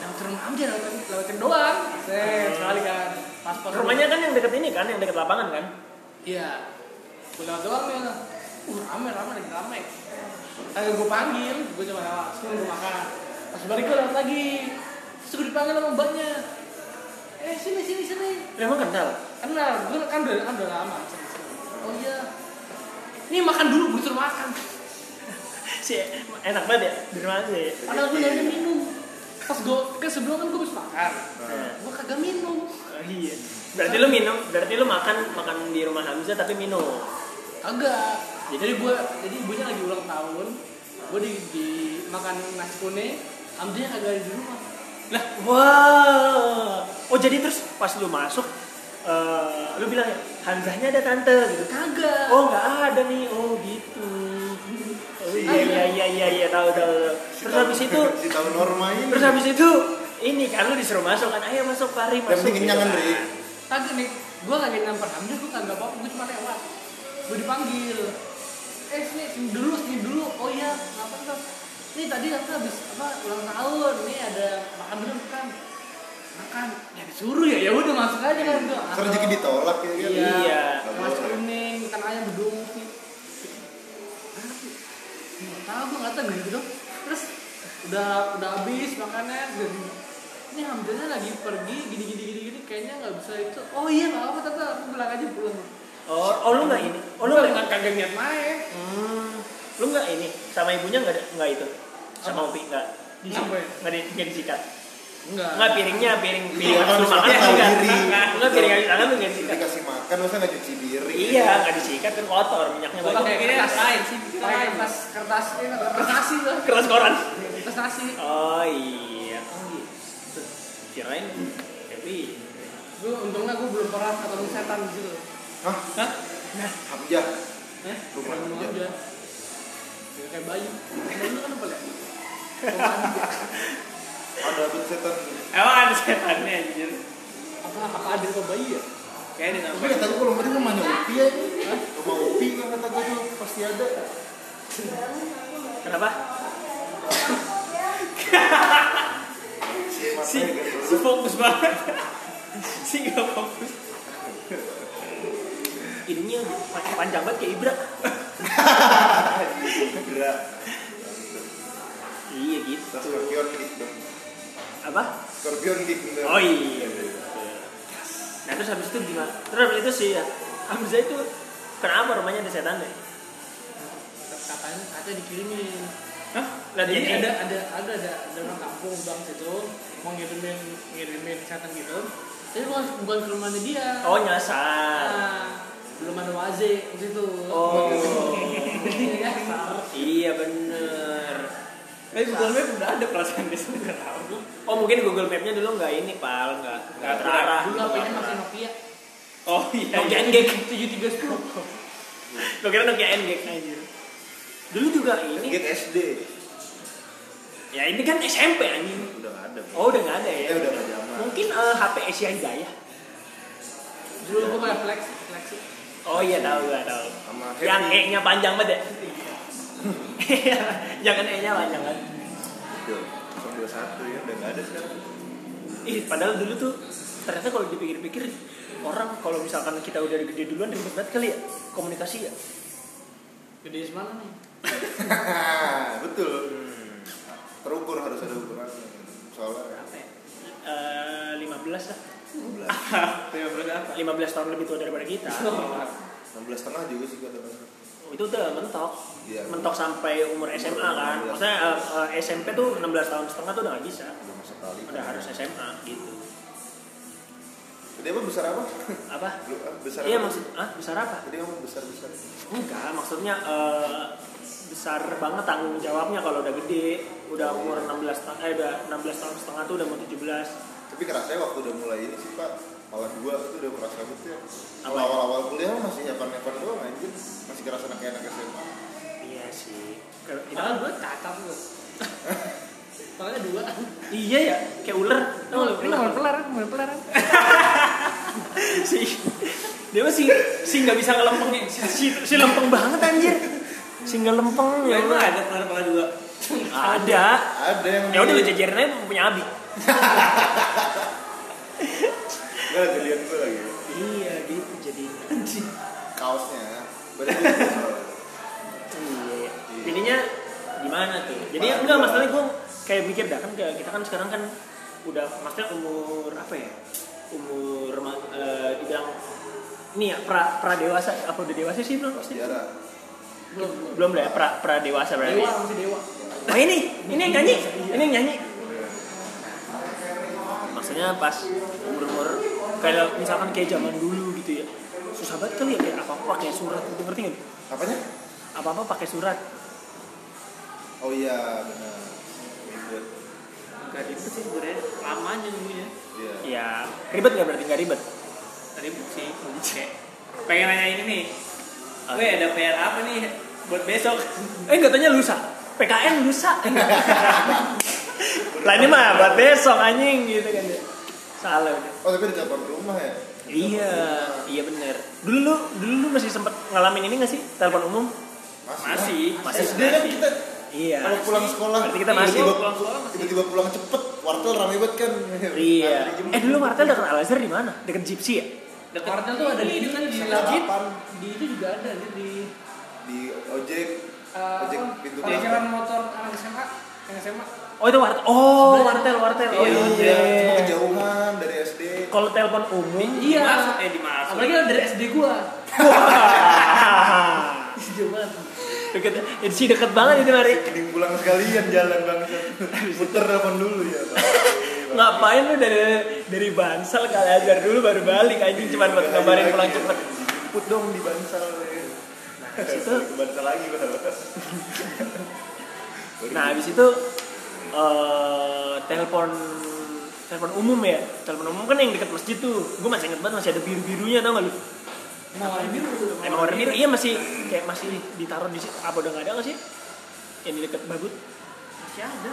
Speaker 5: lewatin rumah aja lewatin lewatin doang set sekali kan pas pas
Speaker 2: Rumahnya kan yang deket ini kan, yang deket lapangan kan?
Speaker 5: iya gue lewat doang ya uh rame rame lagi rame akhirnya gue panggil gue cuma lewat terus gue makan pas balik gue lewat lagi terus gue dipanggil sama mbaknya eh sini sini sini
Speaker 2: Lu emang kenal?
Speaker 5: kenal gue kan udah kan udah lama sama sini. oh iya ini makan dulu gue suruh makan
Speaker 2: Si enak banget ya di rumah Hamzah ya.
Speaker 5: padahal gue nyari minum pas gue kan sebelum kan gue habis makan gue kagak minum
Speaker 2: Eh, Oh, iya. Berarti lu minum, berarti lu makan makan di rumah Hamzah tapi minum.
Speaker 5: kagak Ya, jadi gue jadi ibunya lagi ulang tahun gue di, di makan nasi kuning Amdinya kagak ada di rumah
Speaker 2: Wow. Oh jadi terus pas lu masuk, eh, lu bilang ya, Hamzahnya ada tante gitu.
Speaker 5: kagak
Speaker 2: Oh nggak ada nih, oh gitu. Oh, iya iya iya iya tahu tahu. tahu. Terus habis itu,
Speaker 1: si tahun norma ini.
Speaker 2: terus habis itu ini kan lu disuruh masuk kan, ayo masuk Fahri
Speaker 1: yang
Speaker 2: masuk.
Speaker 1: penting kenyang kan
Speaker 2: gitu.
Speaker 1: Dri.
Speaker 5: kagak nih gue lagi nampar Amdi gue kagak apa gue cuma lewat gue dipanggil eh sini sini dulu sini dulu oh iya apa tuh ini tadi aku habis apa ulang tahun ini ada makan belum kan makan ya disuruh ya ya udah masuk aja kan gue
Speaker 1: Terus rezeki ditolak ya kan.
Speaker 5: Iya.
Speaker 2: Iya.
Speaker 5: Nasi kuning, ikan ayam bedung. Ah, Nggak tahu, gue nggak tahu gitu dong. Terus udah udah habis makannya dan ini hamdannya lagi pergi gini gini gini gini kayaknya nggak bisa itu. Oh iya nggak apa-apa tante, aku bilang aja pulang.
Speaker 2: Oh, oh lu nggak ini? Oh
Speaker 5: Lu
Speaker 2: lu
Speaker 5: nggak
Speaker 2: nggak?
Speaker 5: kagak niat main.
Speaker 2: Hmm, lu nggak ini? Sama ibunya nggak ada nggak itu? Sama Upi nggak?
Speaker 5: Apa ya?
Speaker 2: Nggak di nggak disikat?
Speaker 5: Enggak.
Speaker 2: Nggak piringnya piring piring
Speaker 1: Iya,
Speaker 2: habis lu
Speaker 1: habis
Speaker 2: makan
Speaker 1: makan
Speaker 2: nggak?
Speaker 1: sendiri.
Speaker 2: Nggak piring habis makan lu nggak disikat?
Speaker 1: Dikasih makan masa nggak cuci diri.
Speaker 2: Iya nggak disikat kan kotor minyaknya
Speaker 4: Gua
Speaker 2: banyak.
Speaker 4: kayak gini rasain sih.
Speaker 5: Pakai kertas kertas ini kertas nasi tuh.
Speaker 2: Keras koran.
Speaker 5: Kertas nasi.
Speaker 2: Oh iya. Oh gitu. Kirain tapi
Speaker 5: gue untungnya gue belum pernah ketemu setan di situ
Speaker 1: Hah?
Speaker 4: Hah?
Speaker 1: Hamzah.
Speaker 4: Hah?
Speaker 1: Rumah
Speaker 5: Kayak ngomong
Speaker 1: Hamzah.
Speaker 5: aja. Ya, kayak bayu bayu kan apa ya Rumah aja.
Speaker 1: Ada abis setan.
Speaker 4: Emang ada setannya anjir.
Speaker 5: apa apa ada rumah bayu ya
Speaker 4: Kayaknya
Speaker 1: Tapi
Speaker 4: nampak.
Speaker 1: kata gue kalau mending rumahnya Upi ya. Rumah Upi kan kata gue tuh pasti ada.
Speaker 2: Kenapa?
Speaker 4: Si, si fokus banget. si gak fokus.
Speaker 2: Ininya panjang, panjang banget kayak Ibra.
Speaker 1: Gerak.
Speaker 2: Iya gitu.
Speaker 1: Kita Scorpion Geek dong.
Speaker 2: Apa?
Speaker 1: Scorpion Geek bener.
Speaker 2: Oh iya. Nah terus habis itu gimana? Terus habis itu sih ya. Hamzah itu kenapa rumahnya ada setan deh?
Speaker 5: katanya katanya dikirimin
Speaker 4: Hah?
Speaker 2: Lah
Speaker 5: Jadi
Speaker 2: dia-
Speaker 5: ada ada ada ada ada orang kampung bang situ mau ngirimin ngirimin setan gitu. Tapi bukan bukan ke rumahnya dia.
Speaker 2: Oh nyasar.
Speaker 5: Nah, belum ada waze di situ.
Speaker 2: Oh.
Speaker 5: Iya, Sar.
Speaker 2: iya bener.
Speaker 4: Tapi Google Map udah ada perasaan di sini. Gak tahu.
Speaker 2: Oh mungkin Google Map-nya dulu nggak ini pal, nggak nggak
Speaker 4: Nggak
Speaker 2: terarah.
Speaker 5: Dulu
Speaker 2: gitu,
Speaker 5: HP-nya
Speaker 2: nggak
Speaker 5: masih
Speaker 2: terarah.
Speaker 5: Nokia.
Speaker 4: Oh iya.
Speaker 2: Nokia
Speaker 4: iya.
Speaker 2: NGEK.
Speaker 5: Tujuh tiga sepuluh.
Speaker 2: Lo kira Nokia NGEK anjir. Dulu juga ini.
Speaker 1: Mungkin SD.
Speaker 2: Ya ini kan SMP anjing.
Speaker 1: Udah nggak ada.
Speaker 2: Oh udah nggak ada ya.
Speaker 1: Ya udah nggak zaman.
Speaker 2: Mungkin eh, HP Asia Jaya.
Speaker 5: Dulu gue pakai flex, flex.
Speaker 2: Oh iya tahu gua tahu.
Speaker 1: Sama
Speaker 2: Yang
Speaker 1: Happy.
Speaker 2: E-nya panjang banget ya. Jangan E-nya panjang banget.
Speaker 1: Tuh, 21 ya udah nggak ada sekarang.
Speaker 2: Ih, padahal dulu tuh ternyata kalau dipikir-pikir orang kalau misalkan kita udah gede duluan ribet banget kali ya komunikasi ya.
Speaker 5: Gede semana nih?
Speaker 1: Hmm. Betul. Terukur harus ada ukuran. Soalnya
Speaker 2: ya? Eh, 15 lah.
Speaker 1: 16.
Speaker 4: Tiga belas apa?
Speaker 2: 15 tahun lebih tua daripada kita.
Speaker 5: Oh.
Speaker 1: 16 setengah juga sih kata orang.
Speaker 2: Itu udah mentok.
Speaker 1: Iya.
Speaker 2: Mentok sampai umur SMA kan. Maksudnya eh, eh, SMP tuh 16 tahun setengah tuh udah nggak bisa.
Speaker 1: Udah masuk kali.
Speaker 2: Udah harus SMA gitu.
Speaker 1: Gede apa besar apa?
Speaker 2: Apa?
Speaker 1: Lu ah, besar.
Speaker 2: Iya
Speaker 1: apa?
Speaker 2: maksud ah besar apa?
Speaker 1: Tadi kamu besar-besar.
Speaker 2: Enggak, maksudnya eh, besar banget tanggung jawabnya kalau udah gede, udah umur 16 tahun eh udah 16 tahun setengah tuh udah mau 17.
Speaker 1: Tapi kerasanya waktu udah mulai ini sih Pak malah dua itu udah kerasa gitu ya. Kalau
Speaker 2: Apa?
Speaker 1: awal-awal kuliah mah masih nyapan-nyapan doang anjir. Masih kerasa anak anak SMA.
Speaker 2: Iya sih. Ke-
Speaker 5: Padahal
Speaker 2: kita-
Speaker 5: gue cacat gue. Soalnya dua.
Speaker 2: iya ya, kayak ular. Tau nggak lu ular?
Speaker 5: pelaran, mau pelaran.
Speaker 2: si dia masih si nggak bisa ngelempengnya. Si, si, si lempeng banget anjir. Si nggak lempeng
Speaker 4: Ya
Speaker 2: ya.
Speaker 4: emang ada pelar-pelar dua.
Speaker 2: Ada.
Speaker 1: Ada yang
Speaker 2: Ya udah lu jajarin aja punya Abi.
Speaker 1: Enggak lagi lihat gue lagi.
Speaker 2: Iya, gitu jadi anjing.
Speaker 1: Kaosnya. Berarti gue soalnya.
Speaker 2: Iya. Jadinya gimana tuh? Jadi enggak masalahnya gue kayak mikir dah kan kayak kita kan sekarang kan udah maksudnya umur apa ya? Umur rema- eh, dibilang nih ya pra, pra dewasa apa udah dewasa sih belum pasti
Speaker 1: Sejarah.
Speaker 5: Belum.
Speaker 2: belum lah ya pra pra dewasa berarti.
Speaker 5: Dewa masih dewa.
Speaker 2: Nah ini ini yang nyanyi ini yang nyanyi. Maksudnya pas umur umur kalau misalkan kayak zaman dulu gitu ya susah banget kali ya kayak apa apa pakai surat gitu ngerti nggak?
Speaker 1: Apanya?
Speaker 2: Apa apa pakai surat.
Speaker 1: Oh iya benar. Ribet.
Speaker 4: Gak ribet sih sebenarnya. Lama aja nunggunya.
Speaker 1: Iya.
Speaker 2: Ya ribet nggak berarti nggak ribet.
Speaker 4: Ribet sih. Kayak pengen nanya ini nih. Gue ada PR apa nih buat besok?
Speaker 2: Eh nggak tanya lusa. PKN lusa. lah ini mah buat besok anjing gitu kan ya. Salah udah.
Speaker 1: Oh tapi udah telepon rumah ya?
Speaker 2: Iya, iya bener. Dulu lu, dulu lu masih sempet ngalamin ini gak sih? Telepon umum?
Speaker 4: Masih.
Speaker 2: Masih.
Speaker 1: SD kan kita
Speaker 2: Iya.
Speaker 1: kalau pulang sekolah
Speaker 2: Berarti kita masih.
Speaker 1: tiba-tiba
Speaker 4: Iya, Pulang sekolah masih.
Speaker 1: tiba-tiba pulang cepet wartel rame banget kan
Speaker 2: Iya.
Speaker 1: Antri jemput.
Speaker 2: Eh dulu Martel deket Al Azhar di mana? Deket Gypsy ya?
Speaker 4: Deket
Speaker 5: Wartel tuh ada di itu kan di
Speaker 1: Sama
Speaker 5: langit.
Speaker 1: delapan.
Speaker 5: Di itu juga ada dia di
Speaker 1: di ojek
Speaker 5: eh,
Speaker 1: ojek
Speaker 5: apa,
Speaker 1: pintu
Speaker 5: parkiran motor anak SMA. Yang SMA.
Speaker 2: Oh itu Wartel. Oh
Speaker 5: Sebelah.
Speaker 2: Wartel, Wartel. Oh,
Speaker 1: iya
Speaker 2: iya.
Speaker 1: cuma kejauhan dari SD
Speaker 2: Kalau telepon umum.
Speaker 5: Iya.
Speaker 4: Masuk eh dimasuk.
Speaker 5: Apalagi lah dari SD gua.
Speaker 2: Wah.
Speaker 5: Jauh banget.
Speaker 2: deket, itu sih deket banget itu Mari.
Speaker 1: Mending pulang sekalian jalan banget muter telepon dulu ya Pak.
Speaker 4: Nah,
Speaker 2: Ngapain lu dari dari Bansal ke Al Azhar dulu baru balik anjing cuman buat
Speaker 1: Iya,
Speaker 2: ngabarin pulang cepet.
Speaker 1: put dong di bansal ya.
Speaker 2: Nah, habis itu
Speaker 1: Ke bansal lagi Pak. Baru
Speaker 2: nah habis itu eh telepon telepon umum ya telepon umum kan yang dekat masjid tuh gue masih inget banget masih ada biru birunya tau gak lu
Speaker 5: mau warna biru
Speaker 2: emang warna biru iya masih kayak masih ditaruh di situ apa udah gak ada gak sih yang di dekat babut
Speaker 5: masih ada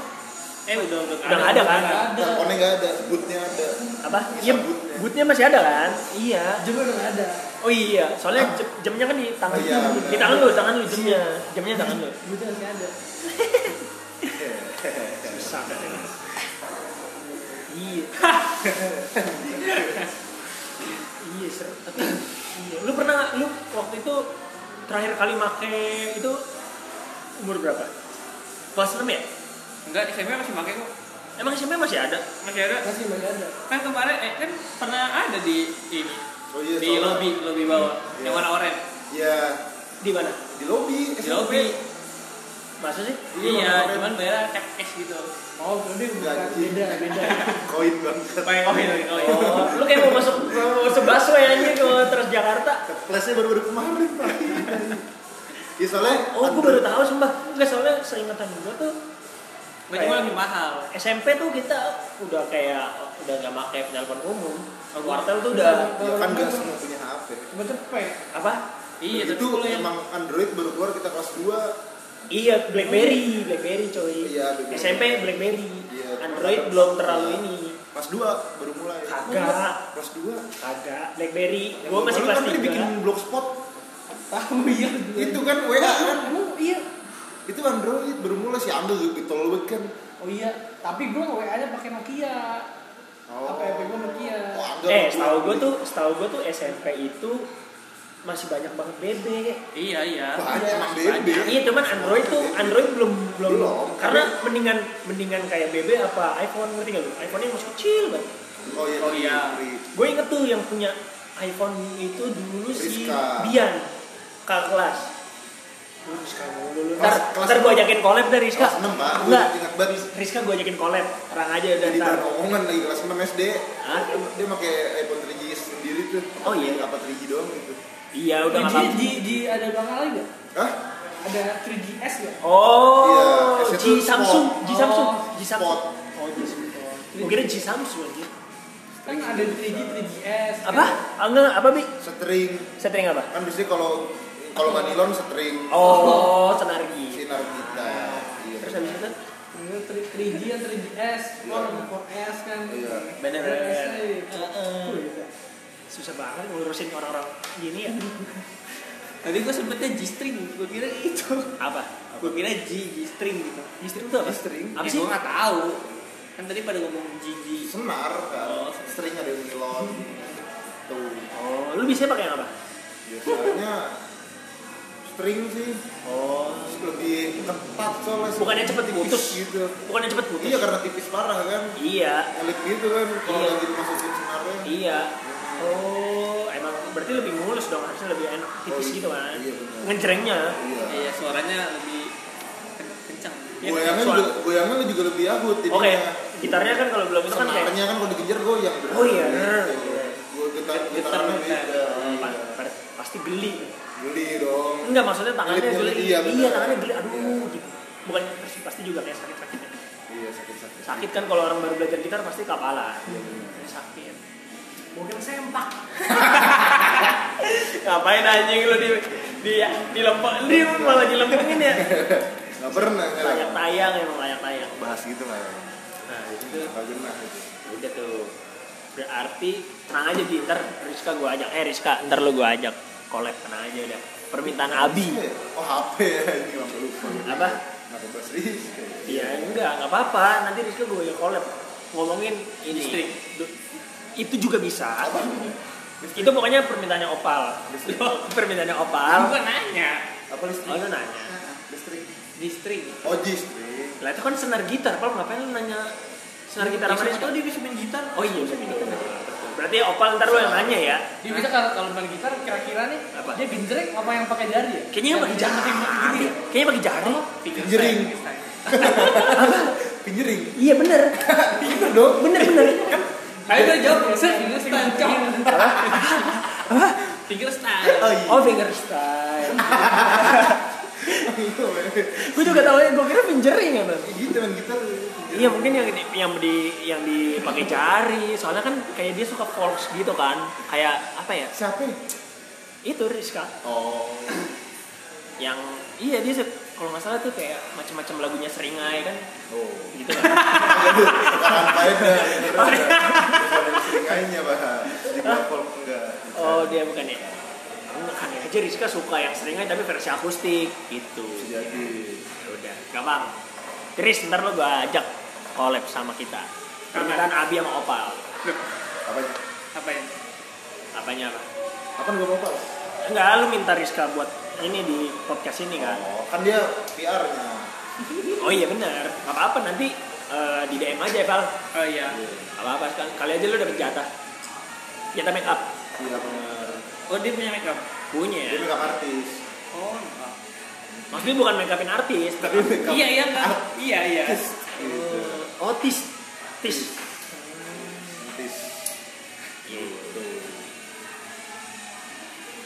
Speaker 4: Eh udah udah
Speaker 2: Udah nggak ada, kan?
Speaker 4: udah nggak
Speaker 5: ada
Speaker 1: Teleponnya nggak ada, sebutnya ada.
Speaker 2: apa iya
Speaker 1: Sabutnya.
Speaker 2: bootnya masih ada kan iya
Speaker 5: juga udah nggak ada
Speaker 2: oh iya soalnya jam- jamnya kan di tangan
Speaker 1: Oh iya,
Speaker 2: lu. di
Speaker 1: benar.
Speaker 2: tangan lu tangan lu jamnya jamnya tangan lu
Speaker 5: Butuh masih ada
Speaker 2: susah iya iya seru tapi iya. lu pernah nggak- lu waktu itu terakhir kali make itu umur berapa kelas 6 ya
Speaker 4: Enggak, di SMP masih pakai kok.
Speaker 2: emang SMP masih ada
Speaker 4: Masih ada.
Speaker 5: masih masih ada
Speaker 4: Kan kemarin eh kan pernah ada di ini
Speaker 1: Oh iya,
Speaker 4: di
Speaker 1: soalnya-
Speaker 4: lobby lobby bawah
Speaker 1: Iya.
Speaker 4: yang warna oranye.
Speaker 1: Iya,
Speaker 2: di mana
Speaker 1: di lobby.
Speaker 4: Di lobby.
Speaker 2: masa sih
Speaker 4: Iya,
Speaker 1: warna
Speaker 4: cuman bayar cash cash gitu.
Speaker 5: oh berarti bukan
Speaker 1: Gaji.
Speaker 5: beda beda
Speaker 1: Koin banget.
Speaker 4: Pakai koin, pakai koin.
Speaker 2: oh lu kayak mau masuk mau masuk busway aja ke Transjakarta
Speaker 1: Plusnya baru-baru kemarin, Pak. Iya, soalnya...
Speaker 2: oh gue baru tahu sumpah nggak soalnya seingatan gue tuh
Speaker 4: Gua cuma lebih mahal.
Speaker 2: SMP tuh kita udah kayak udah nggak pakai penelpon umum
Speaker 4: Oh,
Speaker 2: wartel tuh udah
Speaker 1: Ya kan nggak semua punya HP.
Speaker 5: gue cepet
Speaker 2: apa
Speaker 4: Iya,
Speaker 1: Dan
Speaker 4: tapi
Speaker 1: itu
Speaker 4: kalau yang
Speaker 1: emang Android baru keluar kita kelas 2
Speaker 2: iya BlackBerry BlackBerry coy
Speaker 1: Iya, BlackBerry.
Speaker 2: SMP BlackBerry
Speaker 1: Iya,
Speaker 2: Android
Speaker 1: terus-
Speaker 2: belum terlalu ini
Speaker 1: Kelas 2 baru mulai
Speaker 2: Kagak.
Speaker 1: Kelas 2
Speaker 2: kagak BlackBerry
Speaker 1: Ya,
Speaker 2: gua masih
Speaker 1: baru
Speaker 2: kelas
Speaker 1: kan tadi bikin
Speaker 2: tiga Eh,
Speaker 1: blogspot
Speaker 5: tahu iya
Speaker 1: Itu kan WA kan
Speaker 5: Emang iya
Speaker 1: Itu Android baru mulai si Ambil juga tolol banget kan
Speaker 5: oh iya tapi gue WA nya pakai Nokia apa HP gue Nokia
Speaker 1: ya, Oh, Ambil
Speaker 2: eh setahu gua tuh setahu gua tuh SMP itu masih banyak banget BB
Speaker 4: iya iya.
Speaker 1: Banyak emang
Speaker 4: Banyak.
Speaker 1: BB
Speaker 2: iya cuman Android tuh Android belum belum,
Speaker 1: Belum.
Speaker 2: karena mendingan mendingan kayak BB apa iPhone ngerti gak lu iPhone yang masih kecil banget
Speaker 1: Oh iya
Speaker 4: Oh, iya.
Speaker 2: gue inget tuh yang punya iPhone itu dulu si
Speaker 1: Rizka.
Speaker 2: Bian kakak kelas Lu Rizka mulu lu.
Speaker 1: Kelas-
Speaker 2: ntar
Speaker 1: kelas
Speaker 2: ntar gue ajakin collab dari Rizka
Speaker 1: Kelas 6 Pak Gue
Speaker 2: enggak
Speaker 1: ingat banget
Speaker 2: Rizka gue ajakin collab terang aja dan
Speaker 1: Jadi
Speaker 2: ntar
Speaker 1: bahan omongan lagi kelas 6 SD
Speaker 2: Hah?
Speaker 1: Dia pakai iPhone 3G sendiri tuh
Speaker 2: Oh, iya.
Speaker 1: Apa 3G doang gitu
Speaker 2: iya udah
Speaker 5: Di-
Speaker 2: nggak
Speaker 5: di, di, di ada bang lagi nggak
Speaker 1: Hah?
Speaker 5: ada 3GS nggak
Speaker 1: Iya,
Speaker 2: oh
Speaker 1: S1
Speaker 2: G Samsung G
Speaker 5: Spot.
Speaker 2: Samsung
Speaker 5: Oh,
Speaker 2: G Samsung
Speaker 1: Spot. Iya.
Speaker 2: oh G Samsung gue kira G Samsung aja
Speaker 5: kan ada 3G 3GS
Speaker 2: apa Ah, enggak apa bi
Speaker 1: String
Speaker 2: setting apa
Speaker 1: Kan biasanya kalau kalau nggak nilon string
Speaker 2: oh senargi
Speaker 1: sinar kita iya
Speaker 2: terus habis itu
Speaker 5: Ini 3G yang 3GS, orang 4S kan.
Speaker 1: Iya.
Speaker 2: Bener, bener,
Speaker 5: 4S
Speaker 2: bener.
Speaker 5: lagi.
Speaker 2: Heeh.
Speaker 5: iya.
Speaker 2: susah banget ngurusin orang-orang gini ya
Speaker 4: Tadi gua sempetnya G string, gua kira itu.
Speaker 2: apa
Speaker 4: Gua kira G G string gitu.
Speaker 2: Istri itu apa?
Speaker 1: String.
Speaker 2: Apa
Speaker 4: Apa
Speaker 2: sih?
Speaker 4: Ya, Gua nggak tahu. Kan tadi pada ngomong G G.
Speaker 1: senar kan
Speaker 4: Oh.
Speaker 1: string ada yang nilon tuh
Speaker 2: Oh, lu bisa pakai yang apa?
Speaker 1: biasanya string sih
Speaker 2: Oh,
Speaker 1: terus lebih ketat soalnya
Speaker 2: Bukannya
Speaker 1: string
Speaker 2: cepet
Speaker 1: tipis
Speaker 2: putus.
Speaker 1: gitu
Speaker 2: bukannya cepet putus?
Speaker 1: iya karena tipis parah kan
Speaker 2: Iya,
Speaker 1: elit gitu kan kalau
Speaker 2: Iya.
Speaker 1: lagi dimasukin senarnya
Speaker 2: iya. Oh, emang berarti lebih mulus dong, harusnya lebih enak tipis
Speaker 1: Oh,
Speaker 2: gitu kan?
Speaker 1: iya, benar.
Speaker 2: Ngejerengnya.
Speaker 1: iya
Speaker 4: Iya, suaranya lebih ken- kencang.
Speaker 2: Iya,
Speaker 1: goyangan
Speaker 2: soal-
Speaker 1: juga goyangan juga lebih akut
Speaker 2: Oke, gitarnya kan kalau belum itu kan kayak
Speaker 1: senarnya kan kalau digenjar goyang
Speaker 2: Oh, iya.
Speaker 1: gue getar
Speaker 4: Getar,
Speaker 1: getarannya
Speaker 4: getar.
Speaker 1: beda
Speaker 2: Pa- pa- Oh, iya. pasti geli.
Speaker 1: geli dong
Speaker 2: Enggak maksudnya tangannya
Speaker 1: Geli,
Speaker 2: geli.
Speaker 1: geli, iya, benar.
Speaker 2: tangannya geli. Aduh,
Speaker 1: Iya.
Speaker 2: gitu. Bukan terus pasti juga kayak sakit-sakit.
Speaker 1: iya sakit sakit
Speaker 2: Sakit kan kalau orang baru belajar gitar pasti kapalan.
Speaker 1: Iya, benar.
Speaker 2: sakit mungkin sempak ngapain anjing lu di di di lempeng di malah dilempengin ya
Speaker 1: nggak pernah nggak
Speaker 2: layak tayang emang layak tayang
Speaker 1: bahas gitu nggak ya
Speaker 2: nah itu
Speaker 1: nggak pernah gitu.
Speaker 2: Ya udah tuh berarti tenang aja di ntar Rizka gue ajak eh Rizka ntar lu gue ajak collab tenang aja udah permintaan Abi
Speaker 1: Oh HP ya ini lama lupa.
Speaker 2: Apa?
Speaker 1: Kenapa bahas Rizky?
Speaker 2: iya enggak nggak apa-apa nanti Rizka gue ajak collab ngomongin ini
Speaker 4: Listrik.
Speaker 2: Du- itu juga bisa
Speaker 1: Apa?
Speaker 2: itu pokoknya permintaannya opal
Speaker 1: Listrik.
Speaker 2: permintaannya opal
Speaker 4: Gua nanya
Speaker 1: Apa listrik?
Speaker 2: oh lu nanya
Speaker 1: Listrik.
Speaker 4: di string.
Speaker 1: Oh listrik.
Speaker 2: Lah itu kan senar gitar, Pal ngapain lu nanya senar gitar
Speaker 4: Ya,
Speaker 2: sama
Speaker 4: siapa
Speaker 2: Rizka?
Speaker 4: tahu dia bisa main gitar.
Speaker 2: Oh iya, bisa minta. Berarti Opal ntar lu yang nanya ya.
Speaker 5: Dia bisa kalau kalau main gitar kira-kira nih
Speaker 2: Apa?
Speaker 5: dia genjreng apa yang pakai jari ya?
Speaker 4: Iya,
Speaker 2: Kayaknya pakai jari. Kayaknya pakai jari.
Speaker 4: Finger
Speaker 1: Jering.
Speaker 4: style, finger style.
Speaker 1: Pinjering.
Speaker 2: Iya bener.
Speaker 1: Iya dong.
Speaker 2: Bener bener.
Speaker 4: Ayo udah jawab, set
Speaker 5: Finger
Speaker 4: finger
Speaker 5: style.
Speaker 4: style. Cong. Finger style.
Speaker 1: Oh iya.
Speaker 2: Oh finger style. gue juga tahu ya gue kira pinjering ya Bang.
Speaker 1: Iya, gitu main gitar
Speaker 2: iya mungkin yang di- yang di yang dipakai jari soalnya kan kayak dia suka folks gitu kan kayak apa ya
Speaker 1: siapa ya?
Speaker 2: itu Rizka
Speaker 1: oh
Speaker 2: yang iya dia se- kalau nggak salah tuh kayak macam-macam lagunya seringai kan
Speaker 1: oh
Speaker 2: gitu kan.
Speaker 1: apa ya seringannya pak dikira folk enggak
Speaker 2: oh dia bukan ya Enggak, aneh aja Rizka suka yang seringai tapi versi akustik gitu
Speaker 1: Bisa jadi
Speaker 2: Ya udah gampang Tris ntar lo gue ajak collab sama kita permintaan Abi sama Opal
Speaker 1: apa
Speaker 4: apa ya
Speaker 2: apanya apa
Speaker 1: apa nggak mau pak
Speaker 2: enggak lu minta Rizka buat ini di podcast ini kan
Speaker 1: oh kan dia PR nya
Speaker 2: Oh iya benar. Gak apa-apa nanti eh, di DM aja Val.
Speaker 4: oh iya
Speaker 2: Gak apa-apa sekali. Kali aja lu dapet jatah. Jatah make up
Speaker 1: gila bener
Speaker 4: oh dia punya makeup
Speaker 2: punya.
Speaker 1: dia
Speaker 2: ya.
Speaker 1: makeup artis
Speaker 4: oh
Speaker 2: Maksudnya bukan make upin artis, tapi
Speaker 1: Makeup
Speaker 4: iya iya kan iya iya
Speaker 1: gitu
Speaker 2: otis. oh, Tis.
Speaker 1: artis
Speaker 2: Gitu.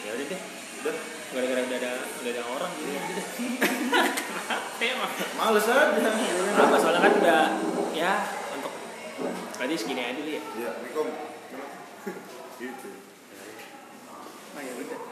Speaker 2: Ya udah deh.
Speaker 1: udah
Speaker 2: Gara-gara udah ada udah ada orang gitu. ya udah.
Speaker 4: emang
Speaker 1: males aja
Speaker 2: Apa soalnya kan udah ya untuk berarti segini aja dulu ya.
Speaker 1: ya Assalamualaikum gitu
Speaker 4: oh ya udah